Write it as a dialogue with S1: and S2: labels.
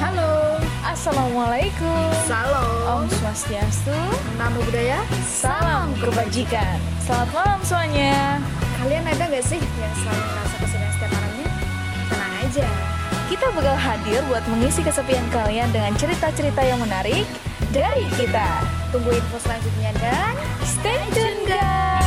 S1: Halo,
S2: Assalamualaikum.
S1: Salam,
S2: Om Swastiastu.
S1: Namo Buddhaya.
S2: Salam kebajikan. Selamat malam semuanya.
S1: Kalian ada nggak sih yang selalu merasa kesepian setiap malamnya? Tenang aja.
S2: Kita bakal hadir buat mengisi kesepian kalian dengan cerita-cerita yang menarik dari kita.
S1: Tunggu info selanjutnya dan
S2: Stay tune guys.